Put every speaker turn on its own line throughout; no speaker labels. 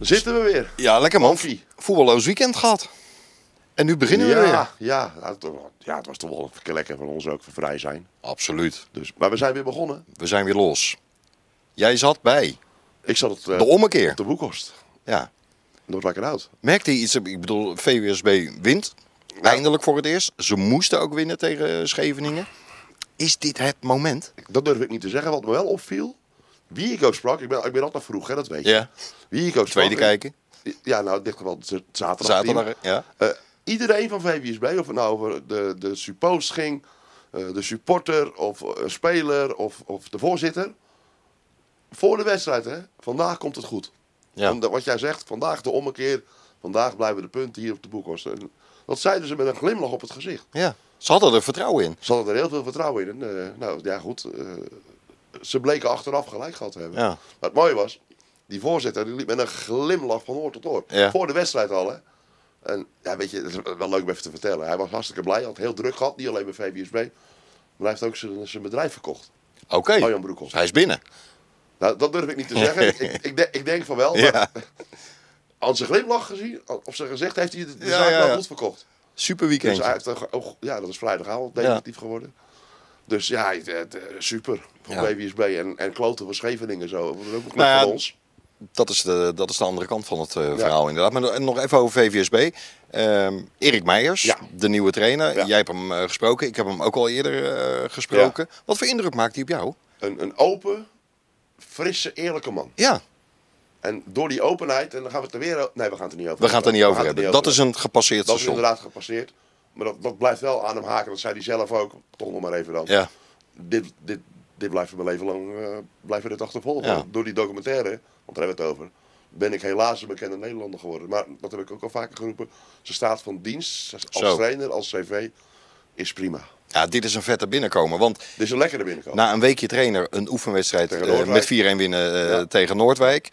Zitten we weer.
Ja, lekker man.
Koffie.
Voetballoos weekend gehad. En nu beginnen we
Ja,
weer.
ja, nou, het- ja, het was toch wel even lekker van ons ook voor vrij zijn.
Absoluut.
Dus, maar we zijn weer begonnen.
We zijn weer los. Jij zat bij.
Ik zat het, eh,
De ommekeer.
op de boekhorst.
Ja.
Noord lekker oud.
Merkte je iets? Ik bedoel, VWSB wint. Eindelijk voor het eerst. Ze moesten ook winnen tegen eh, Scheveningen. Is dit het moment?
Dat durf ik niet te zeggen. Wat me wel opviel, wie ik ook sprak, ik ben, ik ben altijd vroeg, hè, dat weet je.
Ja.
Wie ik ook sprak.
Tweede kijken.
Ja, nou, in dit geval z- zaterdag.
Zaterdag. Ja.
Eh, iedereen van VWSB, of het nou over de, de suppost ging, eh, de supporter of eh, speler of, of de voorzitter. Voor de wedstrijd, hè? Vandaag komt het goed.
Ja.
Omdat wat jij zegt, vandaag de ommekeer, vandaag blijven de punten hier op de boekhorst. En dat zeiden ze met een glimlach op het gezicht.
ja. Ze hadden er vertrouwen in.
Ze hadden er heel veel vertrouwen in. En, eh, nou ja, goed. eh, ze bleken achteraf gelijk gehad te hebben.
Ja.
Maar het mooie was, die voorzitter die liep met een glimlach van oor tot oor.
Ja.
Voor de wedstrijd al, hè. En ja, weet je, dat is wel leuk om even te vertellen. Hij was hartstikke blij, had heel druk gehad. Niet alleen bij VBSB, maar hij heeft ook zijn, zijn bedrijf verkocht.
Oké.
Arjan Broekhoff.
Hij is binnen.
Nou, dat durf ik niet te zeggen. ik, ik, ik, denk- ik denk van wel,
Ja.
maar... Aan zijn glimlach gezien, of zijn gezicht, heeft hij de, de
Ja,
zaak
ja,
wel
ja.
goed verkocht.
Super
Dus hij
weekendje.
heeft toch ook- ja, dat is vrijdagavond definitief geworden. Dus ja, het, het, eh, super. Voor
Ja.
BWSB en, en kloten van Scheveningen zo. Dat is ook een club
Nou ja,
van ons.
Dat is, de, dat is de andere kant van het eh, verhaal inderdaad. Maar no- nog even over VVSB. Ehm, Erik Meijers,
Ja.
de nieuwe trainer.
Ja.
Jij hebt hem eh, gesproken. Ik heb hem ook al eerder eh, gesproken. Wat voor indruk maakt hij op jou?
Een, een open, frisse, eerlijke man.
Ja,
En door die openheid, en dan gaan we het er weer o- Nee, we gaan het er niet over
we gaan het er niet over hebben. Dat is
een
een gepasseerd
dat is
station.
inderdaad gepasseerd. Maar dat, dat blijft wel aan hem haken. Dat zei hij zelf ook. Toch nog maar even dan.
Ja,
Dit, dit, dit blijft mijn leven lang eh blijven dit achtervolgen.
Ja.
Want Door die documentaire, want daar hebben we het over, ben ik helaas een bekende Nederlander geworden. Maar dat heb ik ook al vaker geroepen. Ze staat van dienst als
Zo.
trainer, als cv, is prima.
ja, dit is een vette binnenkomen. Want
Dit is een lekkere binnenkomen.
na een weekje trainer een oefenwedstrijd
Tegen
eh,
Noordwijk.
met 4-1 winnen eh,
Ja.
tegen Noordwijk.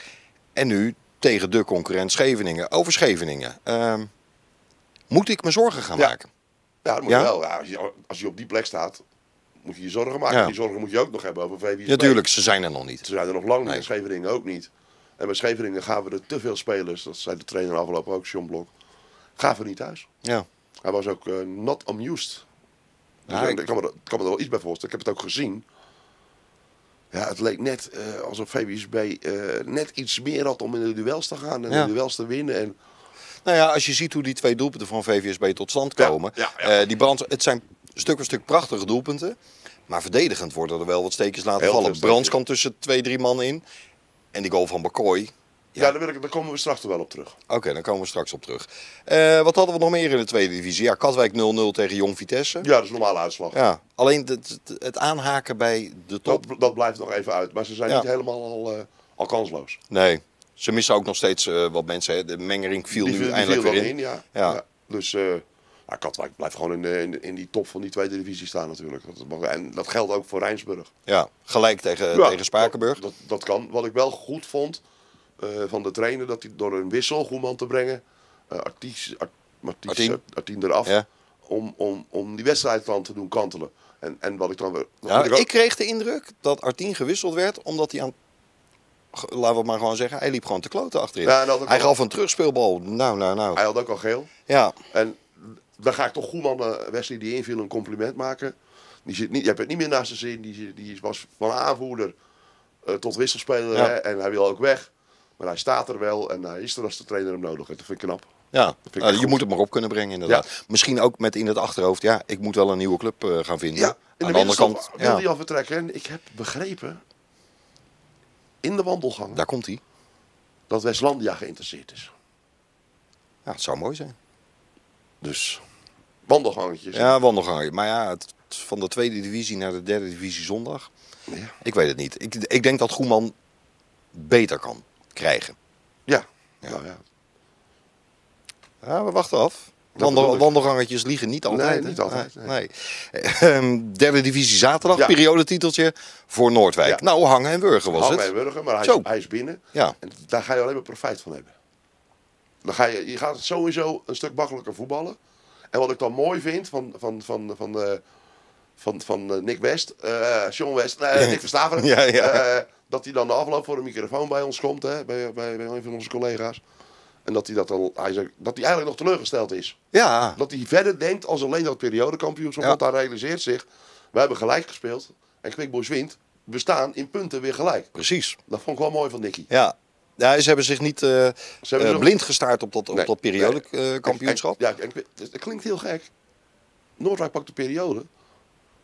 En nu tegen de concurrent Scheveningen. Over Scheveningen. Ehm, moet ik me zorgen gaan
Ja.
maken?
ja, dat moet
Ja?
je wel. Ja, als, je, als je op die plek staat, moet je je zorgen maken.
Ja.
Die zorgen moet je ook nog hebben over VW.
Natuurlijk, ze zijn er nog niet.
Ze zijn er nog lang niet.
Nee.
En Scheveningen ook niet. En bij Scheveningen gaven er te veel spelers. Dat zei de trainer afgelopen ook, John Blok. Gaven niet thuis.
Ja.
Hij was ook eh, not amused. Dus
Ja,
eh,
ik-
ik kan, me, er- ik kan me er wel iets bij voorstellen. Ik heb het ook gezien. Ja, het leek net eh, alsof VWSB eh, net iets meer had om in de duels te gaan en
Ja.
de duels te winnen. En,
Nou ja, als je ziet hoe die twee doelpunten van VVSB tot stand
Ja,
komen.
ja, ja.
eh, die brand, het zijn stuk voor stuk prachtige doelpunten. Maar verdedigend worden er wel wat steekjes laten
Heel
vallen.
veel steekjes.
Brands kan tussen twee, drie man in. En die goal van Bakkooi.
ja, daar, wil ik, daar komen we straks er wel op terug.
Oké, daar komen we straks op terug. Eh, wat hadden we nog meer in de tweede divisie? Ja, Katwijk 0-0 tegen Jong Vitesse.
Ja, dat is een normale uitslag.
Ja, alleen het, het- het aanhaken bij de top.
Dat, dat blijft nog even uit. Maar ze zijn
Ja.
niet helemaal al, eh, al kansloos.
Nee, ze missen ook nog steeds eh, wat mensen. Hè. De mengering viel nu
viel-
eindelijk
viel
weer
wel
in.
ja.
Ja.
Ja, Dus eh, nou, Katwijk blijft gewoon in, de- in, de- in die top van die tweede divisie staan natuurlijk. Dat mag- En dat geldt ook voor Rijnsburg.
Ja, gelijk tegen,
Ja,
eh, tegen Spakenburg.
Dat, dat kan. Wat ik wel goed vond eh, van de trainer, dat hij door een wissel Goeman te brengen, eh Arties, Ar- Marties-
Artien.
eh, Artien eraf,
Ja.
om, om, om die wedstrijd dan te doen kantelen. En, en wat ik dan weer... dat
Ja,
vind
ik,
ook-
kreeg de indruk dat Artien gewisseld werd omdat hij aan. ge- Laten we het maar gewoon zeggen, hij liep gewoon te kloten achterin.
Ja, en dat ook
hij
wel.
gaf een terugspeelbal. Nou, nou, nou.
Hij had ook al geel.
Ja,
En dan ga ik toch Goeman, eh, Wesley die inviel, een compliment maken. Die zit niet, je hebt het niet meer naast de zin. Die, zit- die was van aanvoerder eh, tot wisselspeler.
Ja.
Hè? En hij wil ook weg. Maar hij staat er wel en hij is er als de trainer hem nodig heeft. Dat vind ik knap.
ja.
ik
Nou,
goed.
je moet het maar op kunnen brengen, inderdaad.
Ja.
Misschien ook met in het achterhoofd, ja, ik moet wel een nieuwe club eh, gaan vinden.
Ja, in
aan
de,
de andere kant,
wil
ja,
hij al vertrekken. En ik heb begrepen, in de wandelgang,
daar komt hij.
dat Westlandia geïnteresseerd is.
Ja, het zou mooi zijn.
Dus, wandelgangetjes.
Ja, wandelgang. Maar ja, het, het- van de tweede divisie naar de derde divisie zondag.
Ja.
Ik weet het niet. Ik, ik denk dat Goeman beter kan krijgen.
Ja. Nou ja.
Ja, we wachten af.
bedoel
Wandel,
ik.
wandelgangetjes liegen niet altijd.
Nee, niet
hè?
altijd,
Nee. nee. Ehm, derde divisie zaterdag,
Ja.
periodetiteltje voor Noordwijk.
Ja.
Nou, hangen en wurgen was
Hang
het.
en Burger, maar hij
Zo.
is, hij is binnen.
Ja.
En daar ga je alleen maar profijt van hebben. Dan ga je, je gaat sowieso een stuk makkelijker voetballen. En wat ik dan mooi vind van, van, van, van, eh, van, van eh, Nick West, eh Sean West, nee, Nick Verstappen,
Ja, ja.
eh, dat hij dan de afloop voor de microfoon bij ons komt, hè, bij, bij, bij een van onze collega's. En dat hij, dat, al, hij zegt, dat hij eigenlijk nog teleurgesteld is.
Ja,
Dat hij verder denkt als alleen dat periodekampioenschap.
Ja.
Want hij realiseert zich, we hebben gelijk gespeeld. En Quick Boys wint. We staan in punten weer gelijk.
precies.
Dat vond ik wel mooi van Nicky.
Ja. ja ze hebben zich niet eh, eh,
zich-
blind gestaard op dat, op
Nee,
dat eh,
nee.
periodekampioenschap.
En- en- ja, en Quick- dat klinkt heel gek. Noordwijk pakt de periode.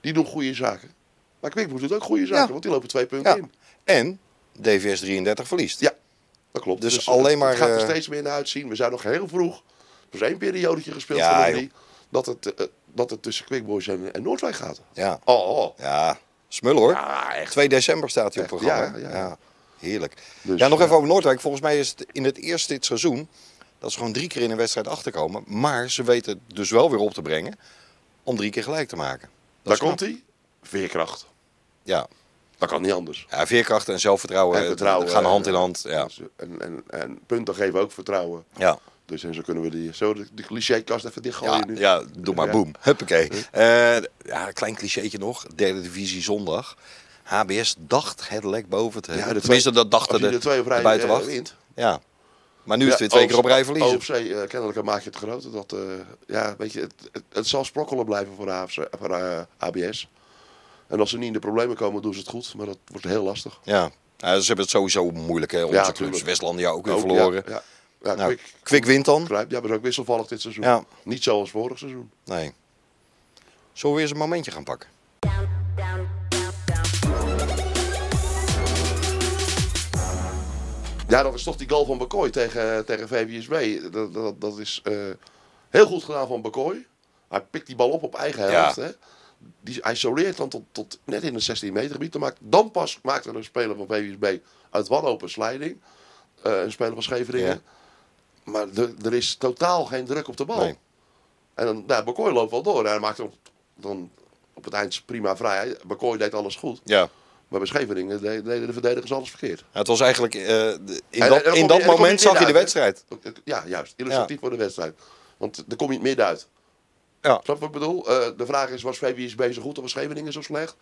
Die doen goede zaken. Maar Quick Boys doet ook goede zaken.
Ja.
Want die lopen twee punten
Ja.
in.
En DVS 33 verliest.
Ja, dat klopt.
Dus alleen
het-
maar,
Het gaat er
eh,
steeds meer naar uitzien. We zijn nog heel vroeg. Er is één periodetje gespeeld
Ja,
van de
joh.
drie. Dat het, eh, dat het tussen Quick Boys en, en Noordwijk gaat.
Ja.
Oh, oh.
Ja, smul hoor.
Ja, echt.
2 december staat hij op het
Echt,
programma.
ja,
Ja,
ja.
heerlijk.
Dus,
ja, nog
ja.
even over Noordwijk. Volgens mij is het in het eerste dit seizoen dat ze gewoon drie keer in een wedstrijd achterkomen. Maar ze weten het dus wel weer op te brengen om drie keer gelijk te maken.
Daar
is knap.
komt hij. Veerkracht.
Ja.
Dat kan niet anders.
ja, veerkracht en zelfvertrouwen,
En vertrouwen.
gaan hand
eh,
in hand. Ja.
dus, En, en, en punten geven ook vertrouwen.
Ja.
Dus en zo kunnen we die, zo de, de clichékast even dichtgooien
Ja,
nu.
ja, doe maar
Ja.
boem. Huppakee. Eh ja, een klein clichétje nog. Derde divisie zondag. HBS dacht het lek boven te
Ja, de twee-
hebben. Tenminste, dat dachten
als je
de,
de twee op rij,
de buitenwacht.
eh, wint. oh,
Ja. Maar nu is het weer twee keer op rij verliezen.
OFC, eh, kennelijk maak je het groot. Dat, eh, ja, weet je, het, het, het zal sprokkelen blijven voor, de AFC, voor eh, ABS. En als ze niet in de problemen komen, doen ze het goed. Maar dat wordt heel lastig.
Ja. Nou, ze hebben het sowieso moeilijk. Hè. Onze
Ja,
clubs,
tuurlijk.
Westlandia ook weer
Ook,
verloren.
Ja, ja, ja
Nou,
Kwik
Kwik wint dan.
grijpt. Ja, maar is ook wisselvallig dit seizoen.
Ja.
Niet zoals vorig seizoen.
Nee. Zullen we eens een momentje gaan pakken?
down, down, down, down.
Ja, dat is toch die goal van Bakoy tegen, tegen VVSB. Dat, dat, dat is eh, heel goed gedaan van Bakoy. Hij pikt die bal op op eigen
Ja.
helft. Hè? Die isoleert dan tot, tot net in het 16 meter gebied. Dan maakt, dan pas maakt er een speler van VVSB uit wanhoop een slijding. Eh, een speler van Scheveningen.
Ja.
Maar de- er is totaal geen druk op de bal.
Nee.
En dan, nou, Bakoy loopt wel door. En hij maakt op, dan op het eind prima vrij. Bakoy deed alles goed.
Ja.
Maar bij Scheveningen de- deden de verdedigers alles verkeerd.
Het was eigenlijk... eh, de- in
En-
dat,
en dan kom
in dat
je- en dan kom
moment
je
zag je de
eruit, hè?
wedstrijd.
Ja, juist. Illustratief
Ja.
voor de wedstrijd. Want daar kom je het midden uit.
Ja.
Snap je wat ik bedoel? Eh, de vraag is, was VWSB zo goed of was Scheveningen zo slecht?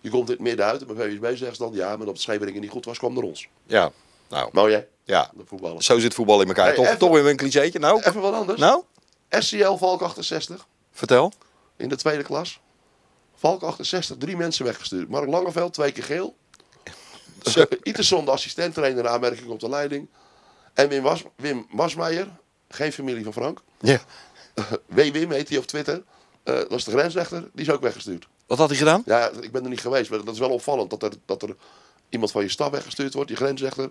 Je komt in het midden uit en bij VWSB zegt ze dan ja, maar dat Scheveningen niet goed was, kwam naar ons.
Ja. Nou,
Mooi hè?
ja.
De voetballers.
Zo zit voetbal in elkaar.
Hey,
toch,
even-
toch weer een clichétje. Nou,
Even wat anders.
nou
SCL Valk 68
vertel.
in de tweede klas. Valk 68, drie mensen weggestuurd. Mark Langeveld, twee keer geel.
Zo.
Iterson, de assistent-trainer, aanmerking op de leiding. En Wim, was, Wim Wasmeijer, geen familie van Frank.
Ja.
W. Wim heet hij op Twitter. Eh, dat is de grensrechter. Die is ook weggestuurd.
Wat had hij gedaan?
Ja, ik ben er niet geweest. Maar dat is wel opvallend. Dat er, dat er iemand van je stad weggestuurd wordt. Je grensrechter.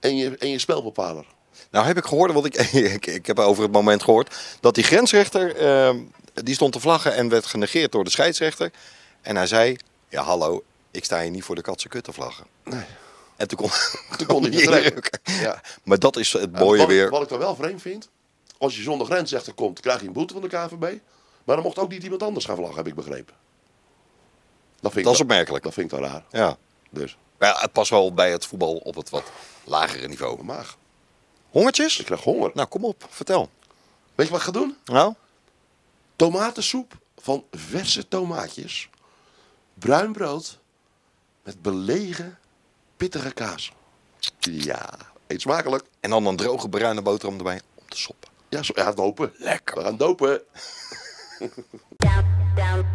En je, en je spelbepaler.
Nou heb ik gehoord, want ik, ik, ik heb over het moment gehoord, dat die grensrechter, ehm, die stond te vlaggen en werd genegeerd door de scheidsrechter. En hij zei, ja hallo, ik sta hier niet voor de katse kut te vlaggen. En toen kon, toen
kon hij vertrekken.
inrukken.
Ja.
Maar dat is het mooie
wat,
weer.
Wat ik dan wel vreemd vind. Als je zonder grensrechter komt, krijg je een boete van de KVB. Maar dan mocht ook niet iemand anders gaan vlaggen, heb ik begrepen. Dat, vind ik
Dat is
dan-
opmerkelijk.
Dat vind ik dan raar.
Ja.
Dus,
Maar ja, het past wel bij het voetbal op het wat lagere niveau.
mijn maag.
Hongertjes?
Ik krijg honger.
Nou kom op, vertel.
Weet je wat ik ga doen?
Nou,
Tomatensoep van verse tomaatjes. Bruin brood met belegen pittige kaas. Ja, eet smakelijk.
en dan een droge bruine boterham erbij om te soppen.
Ja, zo, ja dopen.
Lekker.
We gaan dopen.
Down, down,